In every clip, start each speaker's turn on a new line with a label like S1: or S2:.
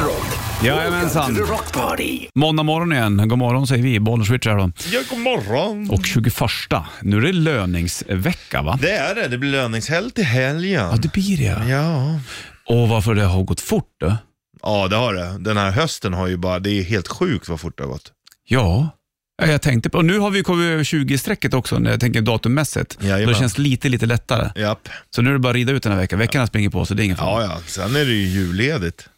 S1: rock.
S2: Jajamensan.
S1: Welcome to the rock party.
S2: Måndag morgon igen. God morgon säger vi. Bollnerswitch här då.
S3: Ja, god morgon.
S2: Och 21. Nu är det löningsvecka va?
S3: Det är det, det blir löningshelg till helgen.
S2: Ja, det blir det.
S3: Ja.
S2: Och varför det har gått fort då?
S3: ja, det har det. Den här hösten har ju bara, det är helt sjukt vad fort det har gått.
S2: Ja, Ja, jag tänkte på, och nu har vi kommit över 20-strecket också, när jag tänker datummässigt.
S3: Jajamän.
S2: Då känns det lite, lite lättare.
S3: Japp.
S2: Så nu är det bara att rida ut den här veckan. Veckan springer på, så det är ingen fara.
S3: Ja, ja, sen är det ju julledigt.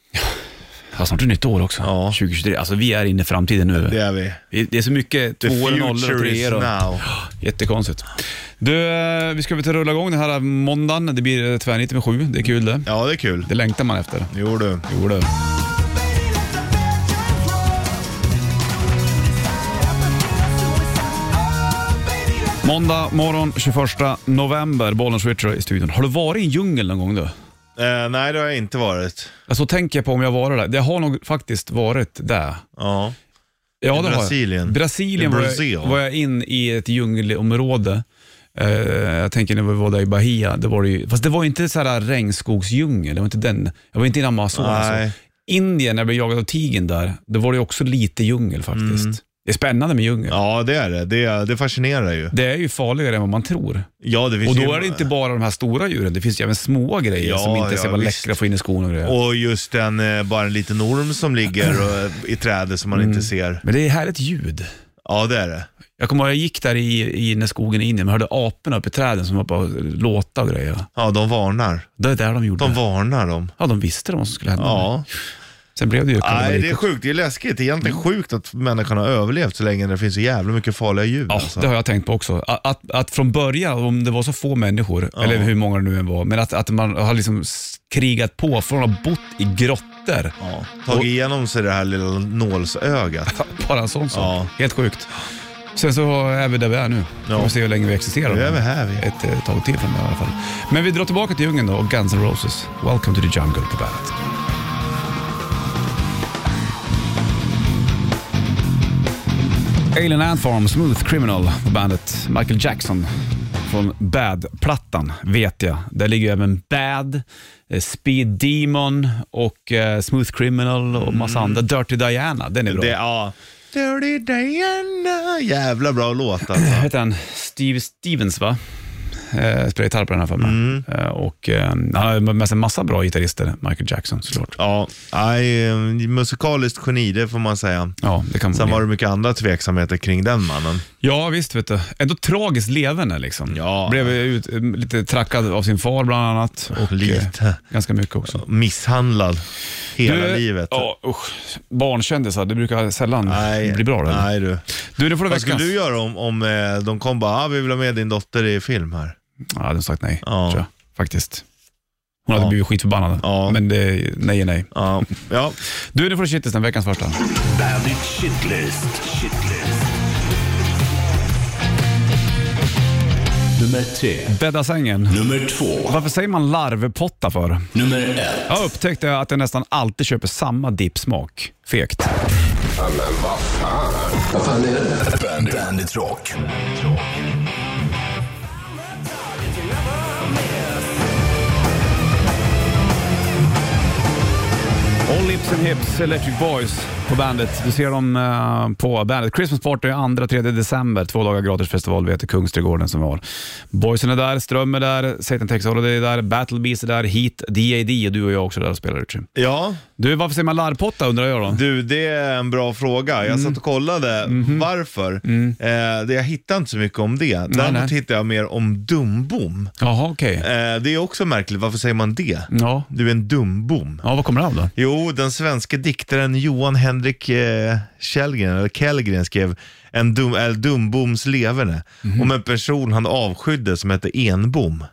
S2: Ja, snart är det nytt år också.
S3: Ja.
S2: 2023. Alltså vi är inne i framtiden nu.
S3: Det
S2: Det,
S3: är vi.
S2: är så mycket
S3: The
S2: tvåor, nollor och
S3: future is
S2: treor. Och...
S3: now.
S2: Jättekonstigt. Du, eh, vi ska väl ta och rulla igång den här måndagen. Det blir eh, tvärnit med sju. Det är kul det.
S3: Ja, det är kul.
S2: Det längtar man efter.
S3: Jo du.
S2: Jo du. Måndag morgon 21 november, Bollnäs Richard i studion. Har du varit i en djungel någon gång du?
S3: Eh, nej, det har jag inte varit.
S2: Alltså tänker jag på om jag varit där. Det har nog faktiskt varit där.
S3: Ja.
S2: Ja,
S3: I
S2: det har jag.
S3: Brasilien.
S2: Brasilien
S3: I
S2: var
S3: Brazil.
S2: jag, var jag in i ett djungelområde. Eh, jag tänker när vi var där i Bahia, det var det ju, fast det var ju inte så här regnskogsdjungel, det var inte den. Jag var inte i Amazonas.
S3: Nej.
S2: Indien, när jag blev jagad av tigern där, då var det ju också lite djungel faktiskt. Det är spännande med djungel.
S3: Mm. Ja, det är det. det. Det fascinerar ju.
S2: Det är ju farligare än vad man tror.
S3: Ja, det finns
S2: Och
S3: ju-
S2: då är det inte bara de här stora djuren, det finns ju även små grejer
S3: Ja,
S2: som inte är så
S3: ja,
S2: jävla
S3: visst.
S2: läckra att få in i skon och grejer.
S3: Och just den, eh, bara en liten orm som ligger och, eh, i trädet som man
S2: Mm.
S3: inte ser.
S2: Men det är härligt ljud.
S3: Ja, det är det.
S2: Jag kommer ihåg, jag gick där i, i när skogen i Indien och hörde aporna uppe i träden som var på låta och grejer.
S3: Ja, de varnar.
S2: Det är där de gjorde
S3: De
S2: det.
S3: varnar dem.
S2: Ja, de visste vad som skulle hända.
S3: Ja.
S2: Sen blev det ju
S3: Nej,
S2: kalabalik.
S3: det är sjukt. Det är läskigt. Det är egentligen
S2: Mm.
S3: sjukt att människan har överlevt så länge när det finns så jävla mycket farliga djur.
S2: Ja,
S3: alltså.
S2: det har jag tänkt på också. Att, att, att från början, om det var så få människor, eller hur många det nu än var, men att, att man har liksom s- krigat på från att ha bott i grottor.
S3: Ja. Tagit igenom sig det här lilla nålsögat.
S2: Bara en sån sak.
S3: Ja.
S2: Helt sjukt. Sen så är vi där vi är nu. Får
S3: Ja.
S2: vi se hur länge vi existerar.
S3: Nu är vi här, vi.
S2: Ett eh, tag till framöver i alla fall. Men vi drar tillbaka till djungeln då och Guns N' Roses. Welcome to the jungle på bandet. Alien Anthem, Smooth Criminal på bandet. Michael Jackson från Bad-plattan, vet jag. Där ligger ju även Bad, eh, Speed Demon och eh, Smooth Criminal och massa andra. Dirty Diana, den är bra.
S3: Det, ja. Dirty Diana. Jävla bra låt alltså.
S2: vad heter han, Steve Stevens va? Eh, spelar gitarr på den här för mig.
S3: Mm.
S2: Eh, och, eh, han har med sig en massa bra gitarrister, Michael Jackson såklart.
S3: Ja, nej, eh, musikaliskt geni, det får man säga.
S2: Ja, det kan man
S3: Sen
S2: bli.
S3: var det mycket andra tveksamheter kring den mannen.
S2: Ja, visst vet du. Ändå tragiskt levande liksom.
S3: Ja.
S2: Blev ut, eh, lite trackad av sin far bland annat. Och, eh,
S3: Lite.
S2: ganska mycket också.
S3: Misshandlad hela
S2: Du-
S3: livet.
S2: Ja, usch. Barnkändisar, det brukar sällan
S3: Nej,
S2: bli bra. Nej.
S3: nej du.
S2: Du, nu får du
S3: Vad skulle
S2: veckans.
S3: du göra om, om eh, de kom bara, ah, vi vill ha med din dotter i film här?
S2: Ja, hade sagt nej,
S3: Ja.
S2: tror jag. Faktiskt. Hon hade
S3: Ja.
S2: blivit skitförbannad.
S3: Ja.
S2: Men det, nej är nej.
S3: Ja, ja.
S2: Du, nu får du shitlisten, veckans första.
S1: Bandit Shitlist. Shitlist. Nummer tre.
S2: Bädda sängen.
S1: Nummer två.
S2: Varför säger man larvpotta för?
S1: Nummer ett.
S2: Jag upptäckte att jag nästan alltid köper samma dippsmak. Fegt.
S1: Bandit, Bandit Rock.
S2: All Lips and Hips, Electric Boys på bandet. Du ser dem eh, på bandet. Christmas Party 2-3 december. Två dagar gratis festival vid Kungsträdgården som vi har. Boysen är där, Ström är där, Satan Tex Holiday är där, Battle Beast är där, Heat, DAD och du och jag också där och spelar Richie.
S3: ja,
S2: Du, varför säger man larvpotta undrar jag då?
S3: du det är en bra fråga.
S2: Mm.
S3: Jag satt och kollade varför. Eh, det, jag hittade inte så mycket om det. Däremot
S2: Mhm. nej.
S3: hittade jag mer om dumbom.
S2: Jaha, okej.
S3: Eh, det är också märkligt, varför säger man det?
S2: Ja.
S3: Du är en dumbom.
S2: ja, vad kommer det av då?
S3: Jo, den svenske diktaren Johan Henrik eh, Källgren, eller Kellgren skrev en dum, eller Dumboms leverne
S2: Mhm.
S3: om en person han avskydde som hette Enbom.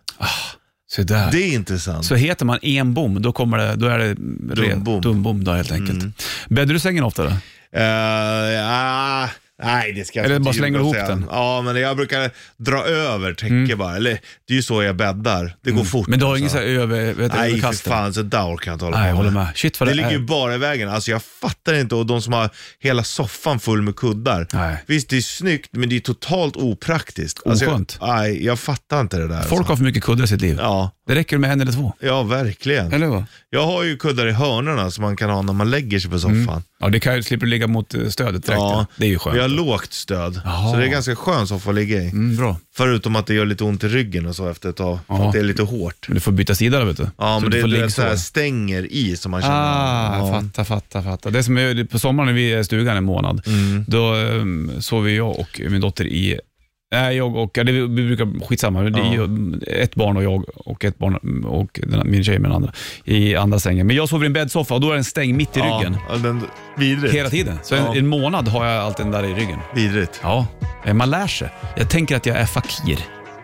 S2: Se där.
S3: Det är intressant.
S2: Så heter man enbom, då, kommer det, då är det re-
S3: Dumbom. Mm.
S2: dumbom då, helt enkelt. Bäddar du sängen ofta då?
S3: Eh, ah, nej, det ska jag
S2: Eller
S3: inte
S2: bara
S3: ljuga
S2: slänger
S3: och
S2: ihop
S3: säga.
S2: den. Mm.
S3: Ja, men jag brukar dra över täcke bara. Eller, det är ju så jag bäddar. Det går fort.
S2: Men du har
S3: alltså.
S2: ingen så här över, vet, du,
S3: Nej, för
S2: överkast?
S3: fan, så där orkar jag inte hålla
S2: Nej, jag
S3: på
S2: håller med. Äh. Shit vad
S3: Det
S2: det,
S3: ligger
S2: är.
S3: ju bara i vägen. Alltså jag fattar inte. Och de som har hela soffan full med kuddar.
S2: Nej.
S3: Visst, det är snyggt, men det är totalt opraktiskt. Alltså, jag,
S2: Oskönt.
S3: nej, jag fattar inte det där.
S2: Folk
S3: alltså.
S2: har för mycket kuddar i sitt liv.
S3: Ja.
S2: Det räcker med en eller två.
S3: Ja, verkligen.
S2: Eller vad?
S3: Jag har ju kuddar i hörnorna som man kan ha när man lägger sig på
S2: Mm.
S3: soffan.
S2: Ja, det kan ju slippa ligga mot eh, stödet direkt. Ja, det är ju skönt.
S3: Vi har lågt stöd,
S2: Jaha.
S3: så det är ganska skön soffa att ligga i.
S2: Mm, bra.
S3: Förutom att det gör lite ont i ryggen och så efter ett tag, för
S2: Ja.
S3: att det är lite hårt.
S2: Men du får byta sida då vet du.
S3: Ja,
S2: Så
S3: men
S2: du
S3: det
S2: får
S3: är
S2: ligg
S3: det så här
S2: så.
S3: stänger i som man känner.
S2: Ah,
S3: ja.
S2: fatta, fatta, fatta. Det som är på sommaren när vi är i stugan en månad,
S3: Mm.
S2: då um, sover jag och min dotter i Nej, jag och, ja, det, vi brukar, skitsamma, det är ju ett barn och jag och ett barn och den, min tjej med den andra i andra sängen. Men jag sover i en bäddsoffa och då är den stängd mitt i ryggen.
S3: Ja, den, vidrigt.
S2: Hela tiden. Så
S3: Ja.
S2: en, en månad har jag alltid den där i ryggen.
S3: Vidrigt.
S2: Ja, eh, man lär sig. Jag tänker att jag är fakir.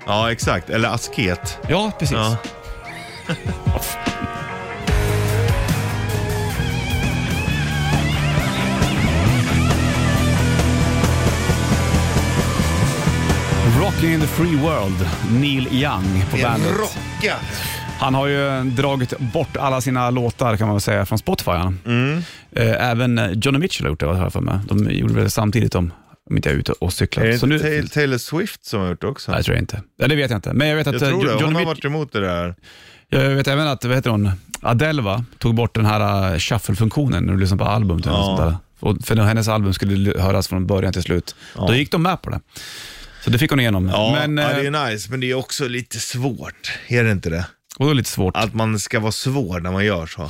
S3: Ja, exakt. Eller asket.
S2: Ja, precis.
S3: Ja.
S2: Rocking in the free world, Neil Young på
S3: Det är en
S2: bandet.
S3: rocka.
S2: Han har ju dragit bort alla sina låtar kan man väl säga från Spotify. han.
S3: Mm.
S2: Eh, Även eh, Johnny Mitchell har gjort det, har jag för mig. De gjorde väl samtidigt om, om inte jag är ute och cyklar.
S3: Är det inte
S2: Så nu-
S3: Tay- Taylor Swift som har gjort det också?
S2: Nej, det tror jag inte. Ja, det vet jag inte. Men jag vet att
S3: jag tror
S2: eh,
S3: det. Hon
S2: Johnny
S3: har
S2: Mitchell...
S3: varit emot det där.
S2: Jag vet även att, vad heter hon, Adele va? Tog bort den här eh, shuffle-funktionen när du lyssnar på album. Typ,
S3: Ja.
S2: och sånt där. Och för när hennes album skulle l- höras från början till slut. Då gick de med på det. Så det fick hon igenom.
S3: Ja,
S2: Men,
S3: ja,
S2: eh,
S3: det är nice, men det är också lite svårt. Är det inte det?
S2: och då är det lite svårt.
S3: Att man ska vara svår när man gör så.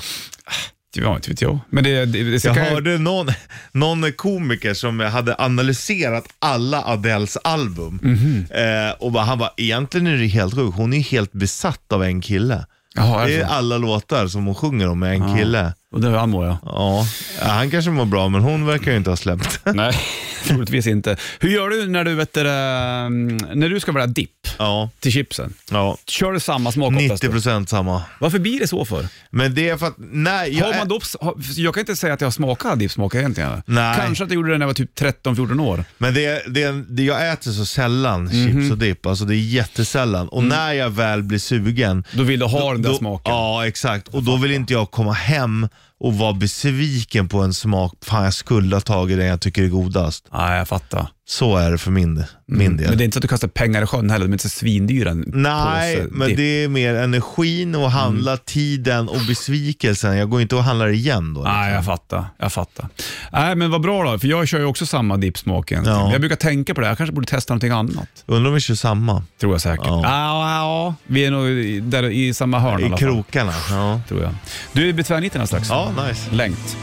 S2: Ja, inte vet jag. Men det, det, det,
S3: Jag
S2: kan ju-
S3: hörde någon, någon komiker som hade analyserat alla Adeles album.
S2: Mhm.
S3: Eh, och bara, han bara, egentligen är det helt sjukt. Hon är ju helt besatt av en kille.
S2: Jaha, är
S3: Det
S2: det
S3: är
S2: så?
S3: alla låtar som hon sjunger om med en kille.
S2: Och det han mår jag.
S3: Ja, Ja, han kanske mår bra, men hon verkar ju inte ha släppt.
S2: Nej, troligtvis inte. Hur gör du när du, vet, du, eh, när du ska välja dipp
S3: Ja,
S2: till chipsen?
S3: ja.
S2: Kör du samma smak oftast? då?
S3: 90% samma.
S2: Varför blir det så för?
S3: Men det är för att, nej, jag,
S2: Har man då, har- jag kan inte säga att jag smakar dippsmak egentligen.
S3: Nej.
S2: Kanske att jag gjorde det när jag var typ 13-14 år.
S3: men det, är- det, är- det, jag äter så sällan
S2: Mhm.
S3: chips och dipp, alltså det är jättesällan. Och när jag väl blir sugen,
S2: Mm. Då vill du ha den där
S3: då,
S2: smaken.
S3: Ja, exakt. Och då vill inte jag komma hem och vara besviken på en smak. Fan, jag skulle ha tagit den jag tycker är godast.
S2: Nej, jag fattar.
S3: Så är det för min, min del.
S2: Mm, Men det är inte så att du kastar pengar i sjön heller. De är inte så svindyra. en
S3: Nej,
S2: påse
S3: men
S2: dipp. Mm.
S3: det är mer energin och handla, tiden och besvikelsen. Jag går inte och handlar igen då.
S2: Nej, jag fattar. Jag fattar. Nej, men vad bra då. För jag kör ju också samma dippsmak egentligen.
S3: Ja.
S2: Jag brukar tänka på det. Jag kanske borde testa någonting annat.
S3: Undrar om vi kör samma.
S2: Tror jag säkert. Ja,
S3: Ja.
S2: ja, ja. Vi är nog i- där i samma hörn i
S3: I
S2: alla fall.
S3: krokarna. Ja,
S2: Tror jag. Du, det blir tvärnitten strax.
S3: ja nice.
S2: Längt.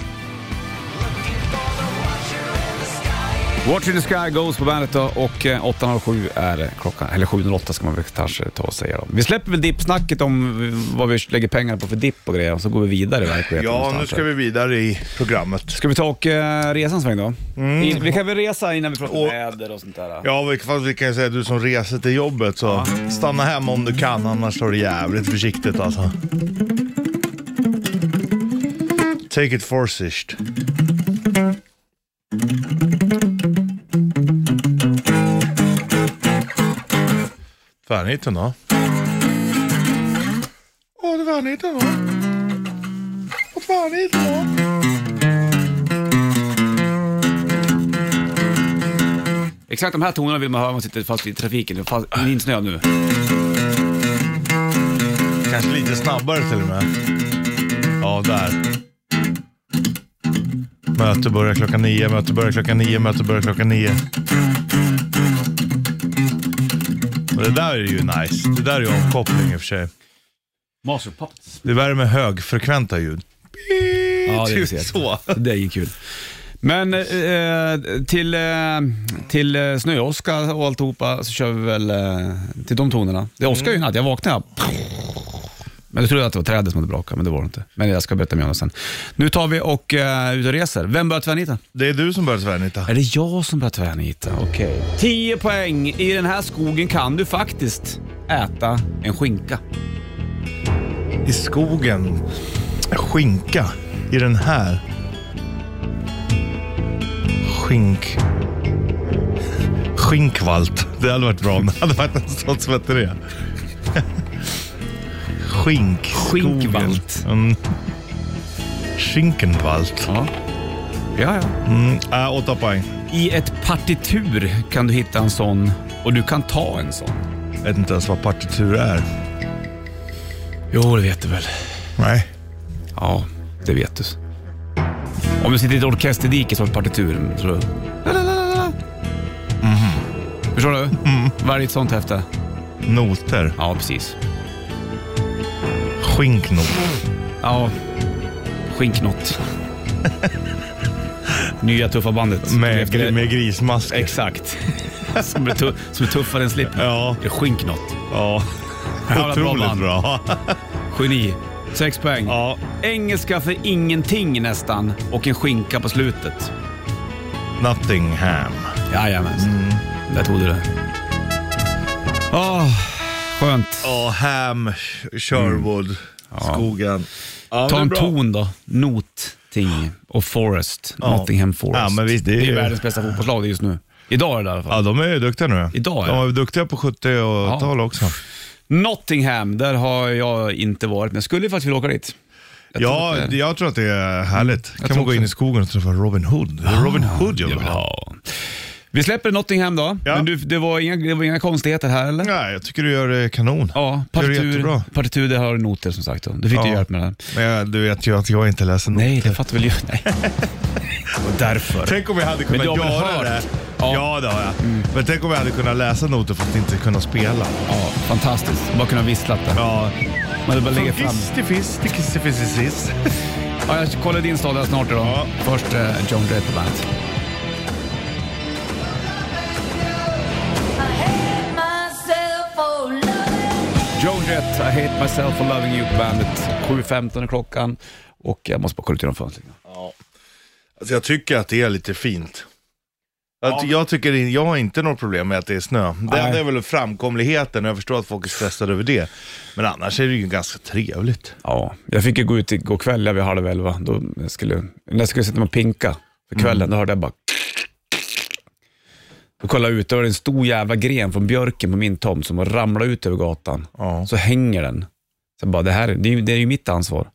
S2: Watch in the sky goes på bandet då och eh, 8.07 är klockan, eller 7.08 ska man väl kanske ta och säga då. Vi släpper väl dippsnacket om eh, vad vi lägger pengar på för dipp och grejer och så går vi vidare i verkligheten någonstans här.
S3: vi vidare i programmet.
S2: Ska vi ta och eh, resa en sväng då? In, vi kan väl resa innan vi pratar väder Mm. och sånt där.
S3: Ja, vi- fast vi kan ju säga att du som reser till jobbet så stanna hemma om du kan, annars tar det jävligt försiktigt alltså. Take it forced. Tvärniten då? Åh, det är tvärniten då. Och tvärniten då.
S2: Exakt de här tonerna vill man höra om man sitter fast i trafiken. Fast, insnöad nu.
S3: Kanske lite snabbare till och med. Ja, där. Möte börjar klockan nio, möte börjar klockan nio, möte börjar klockan nio. Och det där är ju nice. Det där är ju omkoppling i och för sig.
S2: Master Puppets.
S3: Det värmer högfrekventa ljud.
S2: Ja, det är
S3: Typ
S2: så.
S3: så.
S2: Det är ju kul. Men eh, till, eh, till eh, snöoska och alltihopa så kör vi väl eh, till de tonerna. Det åskade ju i natt, jag vaknade. Men du trodde jag att det var trädet som hade brakat, men det var det inte. Men jag ska berätta mer om det sen. Nu tar vi och eh, ut och reser. Vem börjar tvärnita?
S3: Det är du som börjar tvärnita.
S2: Är det jag som börjar tvärnita? Okej. 10 poäng. I den här skogen kan du faktiskt äta en skinka.
S3: I skogen. Skinka. I den här. Skink. Skinkvalt. Det hade varit bra om det hade varit en sån som hette det. Skink. skogen.
S2: Skinkvalt.
S3: Mm. Skinkenvalt.
S2: Ja. Ja, ja.
S3: Mm. Äh, åtta poäng.
S2: I ett partitur kan du hitta en sån och du kan ta en sån.
S3: Jag vet inte ens vad partitur är.
S2: Jo, det vet du väl.
S4: Nej.
S2: Ja, det vet du. Om du sitter i ett orkesterdike så har du ett partitur. Så... Lalalala.
S3: Mhm.
S2: Förstår du? Varje ett sånt häfte.
S3: Noter.
S2: Ja, precis.
S3: Skinknot.
S2: Ja, skinknott. Nya tuffa bandet.
S3: Med,
S2: Efter det-
S3: gri- med grismask.
S2: Exakt. Som är, tu- som är tuffare än slip.
S3: Ja,
S2: Det är Skinknott.
S3: ja.
S2: Jävla bra
S3: Otroligt
S2: band.
S3: bra.
S2: Geni. Sex poäng.
S3: Ja,
S2: Engelska för ingenting nästan och en skinka på slutet.
S3: Nottingham.
S2: Jajamensan.
S3: Mm.
S2: Där tog du det. Åh, skönt.
S3: Ja, Ham, Sherwood, skogen. Ja, det
S2: Ta
S3: är
S2: en
S3: bra.
S2: ton då. Not, ting och Forest.
S3: Ja.
S2: Nottingham Forest.
S3: Ja, men visst, det
S2: det
S3: är
S2: är
S3: ju-
S2: världens bästa fotbollslag just nu. Idag är det i alla fall.
S3: Ja, de är ju duktiga nu.
S2: Idag,
S3: De
S2: ja.
S3: var ju duktiga på 70 och tal också.
S2: Nottingham, där har jag inte varit, men jag skulle faktiskt vilja åka dit. Jag tror
S3: ja,
S2: att eh, det- Mm.
S3: jag tror att det är härligt. kan
S2: tror
S3: man gå in
S2: också.
S3: i skogen och träffa Robin Hood. Det är Robin Hood jag vill ha.
S2: Ja. Vi släpper Nottingham då.
S3: Ja.
S2: Men du, det, var inga, det var inga konstigheter här eller?
S3: Nej, jag tycker du gör det kanon.
S2: Ja,
S3: Gör det jättebra.
S2: partitur, partitur det har du noter som sagt. Då. Du fick
S3: Ja.
S2: ju hjälp med den.
S3: Men jag, du vet ju att jag inte läser noter.
S2: Nej, det fattar väl jag. Nej. Och därför.
S3: Tänk om jag hade
S2: Men
S3: kunnat
S2: du har väl
S3: göra
S2: hört?
S3: det.
S2: Ja. Mm.
S3: Ja. det har jag. Men tänk om jag hade kunnat läsa noter fast inte kunna spela.
S2: Ja, fantastiskt. Bara kunna vissla det.
S3: Ja.
S2: Man hade bara legat fram.
S3: Fistifisti, kissifississis.
S2: Ja, jag kollar din stad här snart idag.
S3: Ja.
S2: Först eh, John Dredd på bandet.
S5: myself for love.
S2: Joan Jett, I hate myself for loving you på bandet. 7.15 är klockan och jag måste bara kolla ut genom fönstret.
S3: Alltså jag tycker att det är lite fint. Att jag, tycker, det- jag har inte något problem med att det är snö. Det enda är väl framkomligheten, jag förstår att folk är stressade över det. Men annars är det ju ganska trevligt.
S2: Ja, jag fick ju gå ut igår kväll ja, vid halv elva. Då skulle, när jag skulle sätta mig och pinka för kvällen, då hörde jag bara... Då kollade jag ut, då var det en stor jävla gren från björken på min tomt som ramlade ut över gatan.
S3: Ja.
S2: Så hänger den. Så jag bara, det här det är, ju- det är ju mitt ansvar.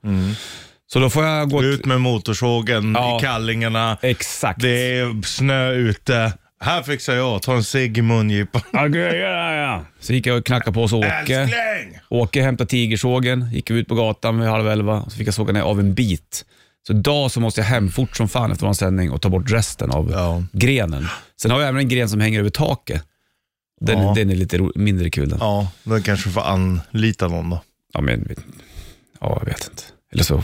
S2: Så då får jag gå...
S3: Ut med motorsågen,
S2: Ja.
S3: i kallingarna,
S2: Exakt.
S3: det är snö ute. Här fixar jag, ta en cigg i mungipan.
S2: Ja, gud, ja, ja, ja. Så gick jag och knackade på hos Åke.
S3: Älskling!
S2: Åke hämtade tigersågen, gick ut på gatan vid halv elva och så fick jag såga ner av en bit. Så idag så måste jag hem fort som fan efter vår sändning och ta bort resten av
S3: Ja.
S2: grenen. Sen har jag även en gren som hänger över taket. Den,
S3: Ja.
S2: den är lite ro- mindre kul. Den. Ja.
S3: Ja, då kanske du får anlita någon då.
S2: men, ja, jag vet inte. Eller så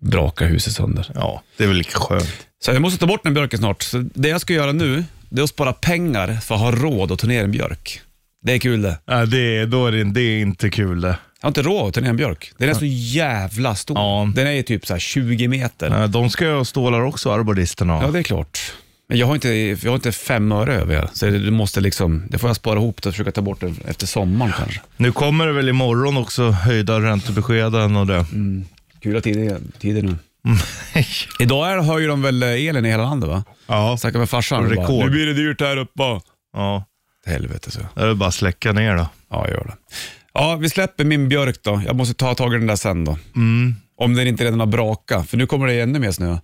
S2: brakar huset sönder.
S3: Ja, det är väl lika skönt.
S2: Så jag måste ta bort den björken snart. Så det jag ska göra nu, det är att spara pengar för att ha råd att ta ner en björk. Det är kul det.
S3: Ja, det, är, då är det, det är inte kul det.
S2: Jag har inte råd att ta ner en björk. Den är så jävla stor.
S3: Ja.
S2: Den är typ så här 20 meter.
S3: Ja, De ska ju ha stålar också, arboristerna.
S2: Ja, det är klart. Men jag har inte, jag har inte fem öre över, så det, det måste liksom, det får jag spara ihop och försöka ta bort det efter sommaren kanske.
S3: Nu kommer det väl imorgon också höjda räntebeskeden och det.
S2: Kula tider, tider nu. Idag är, höjer de väl eh, elen i hela landet va?
S3: Ja,
S2: Snackade med farsan.
S3: Rekord.
S2: Bara, nu blir det dyrt här uppe.
S3: ja.
S2: Till helvete så.
S3: Då är det bara att släcka ner då.
S2: Ja, gör det. Ja, vi släpper min björk då. Jag måste ta tag i den där sen då.
S3: Mm.
S2: Om den inte redan har brakat, för nu kommer det ännu mer snö.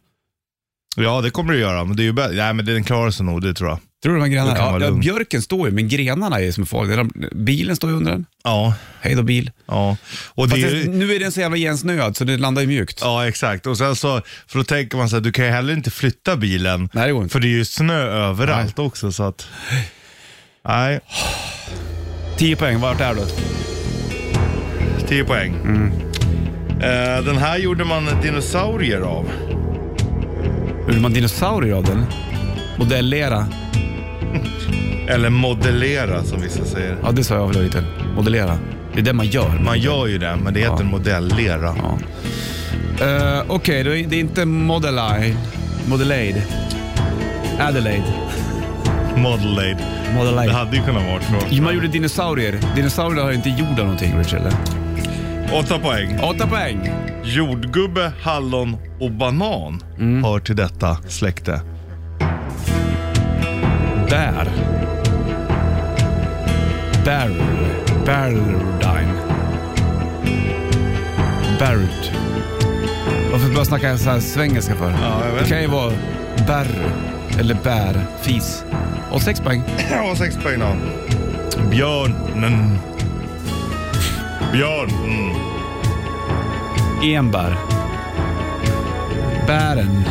S3: Ja, det kommer det göra, men det är ju bättre. Nej, men den klarar sig nog, det tror jag.
S2: Tror du de här
S3: Du kan
S2: grenarna?
S3: vara
S2: Ja,
S3: lugn.
S2: björken står ju, men grenarna är ju som farliga. De- Bilen står ju under den.
S3: Ja,
S2: Hej då bil.
S3: ja. Och det
S2: Fast
S3: är,
S2: det,
S3: ju-
S2: nu är den så jävla igensnöad så det landar ju mjukt.
S3: ja, exakt. Och sen så, för då tänker man så här, du kan ju heller inte flytta bilen.
S2: Nej, det går inte.
S3: För det är ju snö överallt också, så att... Nej,
S2: 10 poäng, vart är du?
S3: 10 poäng.
S2: Mm.
S3: Eh, den här gjorde man dinosaurier av.
S2: Gjorde man dinosaurier av den? Modellera?
S3: Eller modellera, som vissa säger.
S2: Ja, det sa jag väl lite. Modellera. Det är det man gör.
S3: Man gör ju det, men det heter
S2: Ja.
S3: modellera.
S2: Ja. Eh, Okej, då är- det är inte Modellide. Modellade. Adelaide.
S3: Modellade. Det
S2: Modellade.
S3: hade ju kunnat vara från.
S2: Man gjorde dinosaurier. Dinosaurier har ju inte gjort av någonting, Rich, eller?
S3: 8 poäng.
S2: 8 poäng.
S3: Jordgubbe, hallon och banan
S2: Mm.
S3: hör till detta släkte.
S2: Där. Barrel. Barreldine. Barrett. Varför börjar jag snacka så här svengelska för?
S3: jag vet
S2: det kan ju vara bär eller bär, fis. Och sex poäng.
S3: Ja, 6 poäng då. mm. Björnen. Björnen.
S2: Enbär. Bären.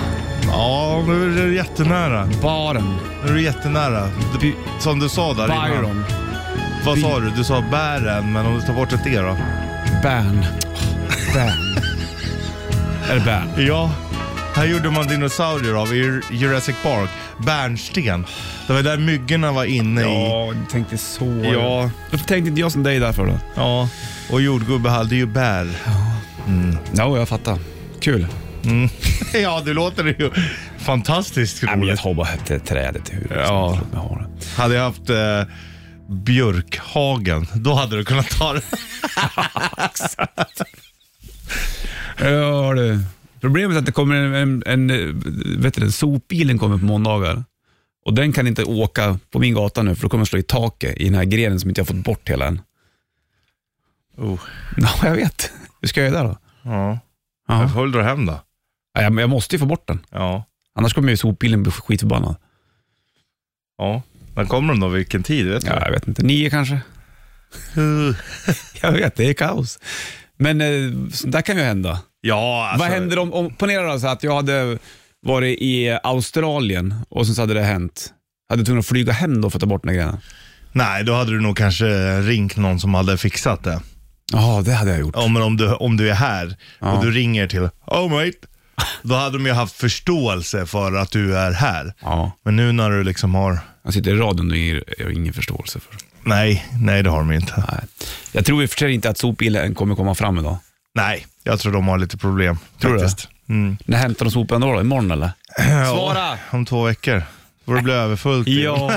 S3: Ja, nu är du jättenära.
S2: Baren.
S3: Nu är du jättenära. Du,
S2: By-
S3: som du sa där innan.
S2: Byron.
S3: Vad
S2: By-
S3: sa du? Du sa bären, men om du tar bort ett e då?
S2: Bern. Bern. Är det Bern?
S3: Ja. Här gjorde man dinosaurier av i Jurassic Park. Bärnsten. Det var där myggorna var inne i.
S2: jag tänkte så.
S3: Ja.
S2: Varför tänkte inte jag som dig därför då?
S3: Ja. Och jordgubbe hade ju bär.
S2: Jo, jag fattar. Kul.
S3: Ja, du låter det ju fantastiskt
S2: Nej, men jag
S3: roligt.
S2: har bara det trädet i huvudet.
S3: Ja.
S2: Låt mig ha det.
S3: Hade jag haft eh, björkhagen, då hade du kunnat ta det.
S2: Ja du. Problemet är att det kommer en, en, en, eh, vet du, det, sopbilen kommer på måndagar. Och den kan inte åka på min gata nu för då kommer den slå i taket i den här grenen som inte jag fått bort hela än.
S3: Oh.
S2: Ja, jag vet. Hur ska jag göra då?
S3: Ja.
S2: Ja.
S3: Jag får väl dra hem då.
S2: Ja, men jag måste ju få bort den.
S3: Ja.
S2: Annars kommer ju sopbilen bli skitförbannad.
S3: Ja. När kommer de då? Vilken tid? Vet du?
S2: Ja, jag vet inte. Nio kanske?
S3: Uh.
S2: Jag vet, det är kaos. Men eh, sånt där kan ju hända.
S3: Ja, alltså.
S2: Vad händer om, om ponera då så att jag hade varit i Australien och sen så hade det hänt. Hade du tvungen att flyga hem då för att ta bort den här grejen?
S3: Nej, då hade du nog kanske ringt någon som hade fixat det.
S2: Ja, det hade jag gjort.
S3: Ja, men om du, om du är här
S2: Ja.
S3: och du ringer till Oh mate. Då hade de ju haft förståelse för att du är här.
S2: Ja.
S3: Men nu när du liksom har...
S2: Han sitter i radion och ger ger ingen förståelse för.
S3: Nej, nej det har de ju inte.
S2: Nej. Jag tror i och för sig inte att sopbilen kommer komma fram idag.
S3: Nej, jag tror de har lite problem.
S2: Tror du det?
S3: faktiskt. Mm.
S2: När hämtar de sopan då? då? Imorgon eller? Svara!
S3: Om två veckor. Får det bli överfullt.
S2: Ja,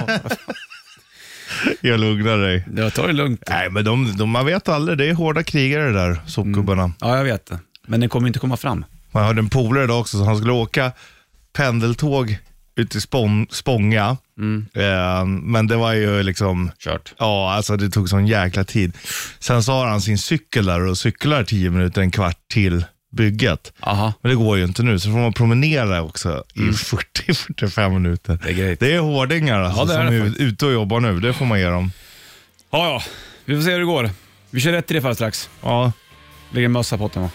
S3: Jag lugnar dig.
S2: jag tar det lugnt.
S3: Nej, men de, de, man vet aldrig. Det är hårda krigare där, sopgubbarna.
S2: Ja, jag vet det. Men den kommer inte komma fram.
S3: Man hörde en polare idag också, så han skulle åka pendeltåg ut till Spång, Spånga.
S2: Mm.
S3: Eh, men det var ju liksom,
S2: Kört.
S3: ja alltså det tog sån jäkla tid. Sen så har han sin cykel där och cyklar 10 minuter, en kvart till bygget.
S2: Aha. Mm.
S3: Men det går ju inte nu, så får man promenera också i 40-45 minuter.
S2: Det är grejt.
S3: Det är hårdingar alltså,
S2: Ja, det är
S3: som
S2: det
S3: är
S2: faktiskt.
S3: ute och jobbar nu, det får man ge dem.
S2: Ja, ja. Vi får se hur det går. Vi kör rätt i det för strax.
S3: Ja,
S2: Ligger en mössa på den va?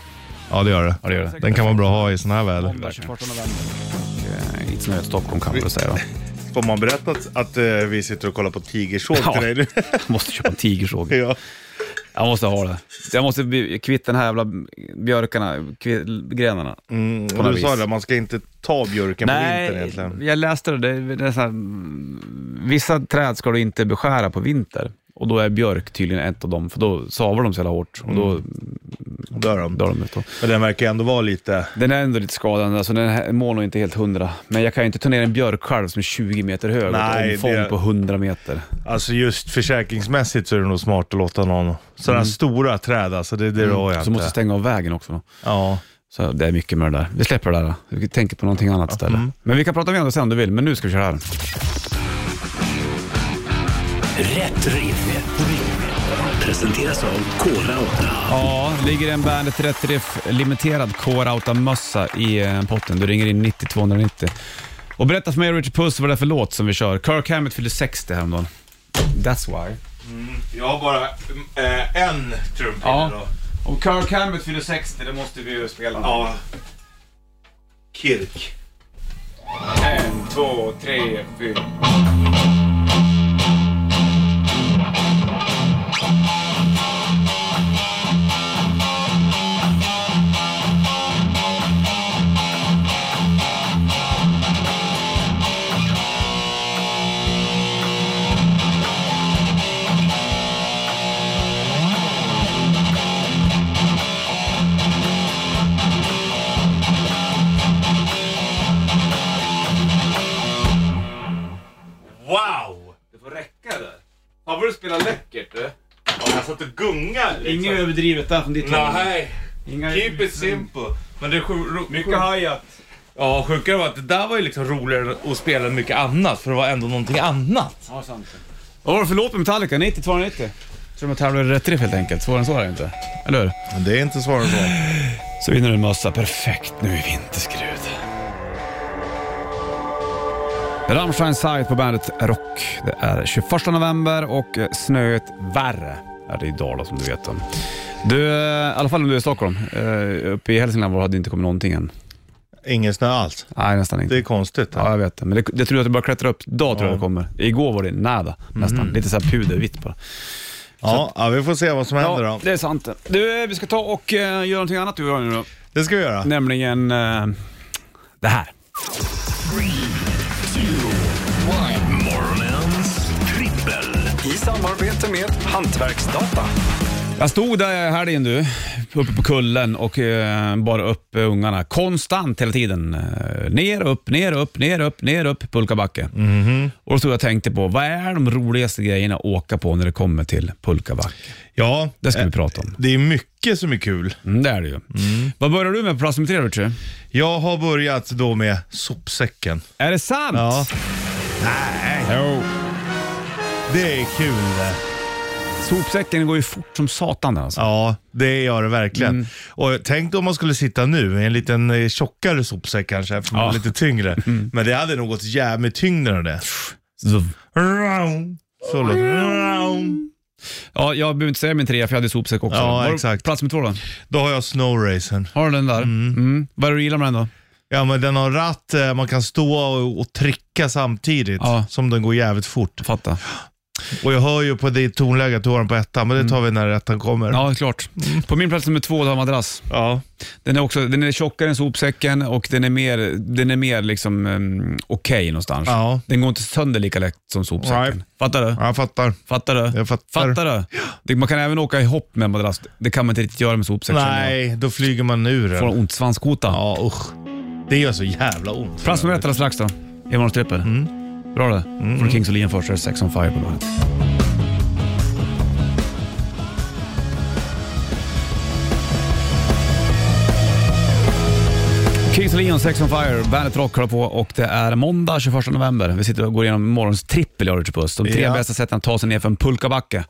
S3: ja det gör det.
S2: Ja, det gör det.
S3: Den kan vara bra att ha i sån här väder.
S2: Måndag 24 november. Eh, Inte snöigt Stockholm kan man väl säga va?
S3: Får man berätta att, att eh, vi sitter och kollar på Tigersåg
S2: Ja.
S3: till dig nu?
S2: Jag måste köpa en tigersåg.
S3: ja.
S2: Jag måste ha det. Jag måste bli kvitt den här jävla björkarna, kvi- grenarna.
S3: Mm,
S2: På något
S3: du sa
S2: vis.
S3: det, man ska inte ta björken på vintern
S2: Nej,
S3: egentligen.
S2: jag läste det. det, det är så här, mm, vissa träd ska du inte beskära på vinter. Och då är björk tydligen ett av dem, för då savar de så jävla hårt och då
S3: Mm. Dör de.
S2: dör de ut. då.
S3: Men den verkar ju ändå vara lite...
S2: Den är ändå lite skadande, alltså den här mår nog inte helt hundra. Men jag kan ju inte ta ner en björkskärv som är 20 meter hög och
S3: Nej,
S2: ett omfång
S3: det-
S2: på 100 meter.
S3: Alltså just försäkringsmässigt så är det nog smart att låta någon... Sådana stora träd alltså, det, det rör
S2: Mm.
S3: jag
S2: Så måste
S3: inte.
S2: jag stänga av vägen också. Då.
S3: Ja.
S2: Så det är mycket med det där. Vi släpper det där. då. Vi tänker på någonting annat istället.
S3: Mm.
S2: Men vi kan prata mer om det sen om du vill, men nu ska vi köra här.
S1: Rätt riff. Presenteras av Kora 8.
S2: Ja, ligger en Bandet Rätt Riff limiterad K-Rauta-mössa i eh, potten. Du ringer in 90 290. Och berätta för mig Richard Puss vad det är för låt som vi kör. Kirk Hammett fyllde 60 häromdagen. That's why.
S3: Jag har bara eh, en trumpinne
S2: Om Kirk Hammett fyller 60, det måste vi ju spela.
S3: Ja. Kirk.
S2: En, två, tre, fyra.
S3: Wow!
S2: Det får räcka där. Fan vad du spelar läckert du.
S3: Jag satt och gungade
S2: Inget överdrivet där från ditt
S3: Nej,
S2: Inga...
S3: keep it simple. Men det är sju-
S2: Mycket hajat.
S3: Ja, sjukare var att det där var ju liksom roligare att spela än mycket annat, för det var ändå någonting annat.
S2: Ja, sant. Vad var det för låt med Metallica? 90 290? Tror de tävlar i rätt riff helt enkelt. Svårare än så är det inte. Eller hur?
S3: Det är inte svårare än så.
S2: Så vinner du en mössa. Perfekt nu i vinterskrud. Rammstein Sight på bandet Rock. Det är 21 november och snöet värre är det idag då, som du vet. om. Du, eh, i alla fall om du är i Stockholm. Eh, Uppe i Hälsingland var det inte kommit någonting än.
S3: Ingen snö alls.
S2: Nej, nästan inte.
S3: Det är konstigt.
S2: Ja, jag vet det. Men det, jag tror att det börjar klättra upp. Idag tror jag det kommer. Igår var det nada, nästan. Lite så här pudervitt bara.
S3: Ja, ja, vi får se vad som händer
S2: Ja,
S3: då.
S2: det är sant. Du, eh, vi ska ta och eh, göra någonting annat du och jag nu då.
S3: Det ska vi göra.
S2: Nämligen eh, det här.
S1: Morgonens trippel.
S4: I samarbete med Hantverksdata.
S2: Jag stod där i helgen du, uppe på kullen och eh, bara upp eh, ungarna. Konstant hela tiden. Eh, ner, upp, ner, upp, ner, upp, ner, upp pulkabacke. Och då stod jag och tänkte på, vad är de roligaste grejerna att åka på när det kommer till pulkabacke?
S3: Ja,
S2: Det ska
S3: eh,
S2: vi prata om.
S3: det är mycket som är kul.
S2: Mm, det är det ju. Vad börjar du med på plats nummer tre, Richie?
S3: Jag har börjat då med sopsäcken.
S2: Är det sant?
S3: Ja,
S2: Jo.
S3: det är kul det.
S2: Sopsäcken går ju fort som satan den alltså.
S3: Ja, det gör det verkligen. Och tänk om man skulle sitta nu i en liten eh, tjockare sopsäck kanske, för man
S2: Ja.
S3: är lite tyngre. Men det hade nog gått jävligt med tyngden av det.
S2: Så-
S3: Raum. Så låter det. Raum.
S2: Ja, jag behöver inte säga min trea för jag hade sopsäck också.
S3: Ja,
S2: Var det
S3: exakt.
S2: Plats nummer två då?
S3: Då har jag snowracen.
S2: Har du den där? Mm. Vad är det du gillar med den då?
S3: Ja, men den har ratt, eh, man kan stå och, och trycka samtidigt
S2: Ja.
S3: som den går jävligt fort.
S2: Fatta.
S3: Och jag hör ju på det tonläget, du har den på ettan, men det tar vi när ettan kommer.
S2: Ja, klart.
S3: Mm.
S2: På min plats nummer två, då har jag madrass.
S3: Ja.
S2: Den är, också, den är tjockare än sopsäcken och den är mer, den är mer liksom, um, okej någonstans.
S3: Ja.
S2: Den går inte sönder lika lätt som sopsäcken.
S3: Nej.
S2: Fattar du?
S3: Ja, jag fattar.
S2: Fattar du?
S3: Jag fattar.
S2: du? Det, man kan även åka i hopp med en madrass. Det kan man inte riktigt göra med sopsäcken.
S3: Nej, då flyger man ur
S2: Får
S3: den.
S2: en ont svanskota.
S3: Ja, usch. Det gör så jävla ont.
S2: Plats nummer ett alldeles strax då. I morgons trippel.
S3: Mm.
S2: Bra det. Från Kings och Leonfors är det Sex on Fire på bandet. Kings och Leon, Sex on Fire, Bandet Rock håller på och det är måndag 21 november. Vi sitter och går igenom morgons trippel i Richard Puss. De tre
S3: Ja.
S2: bästa sätten att ta sig ner för en pulkabacke.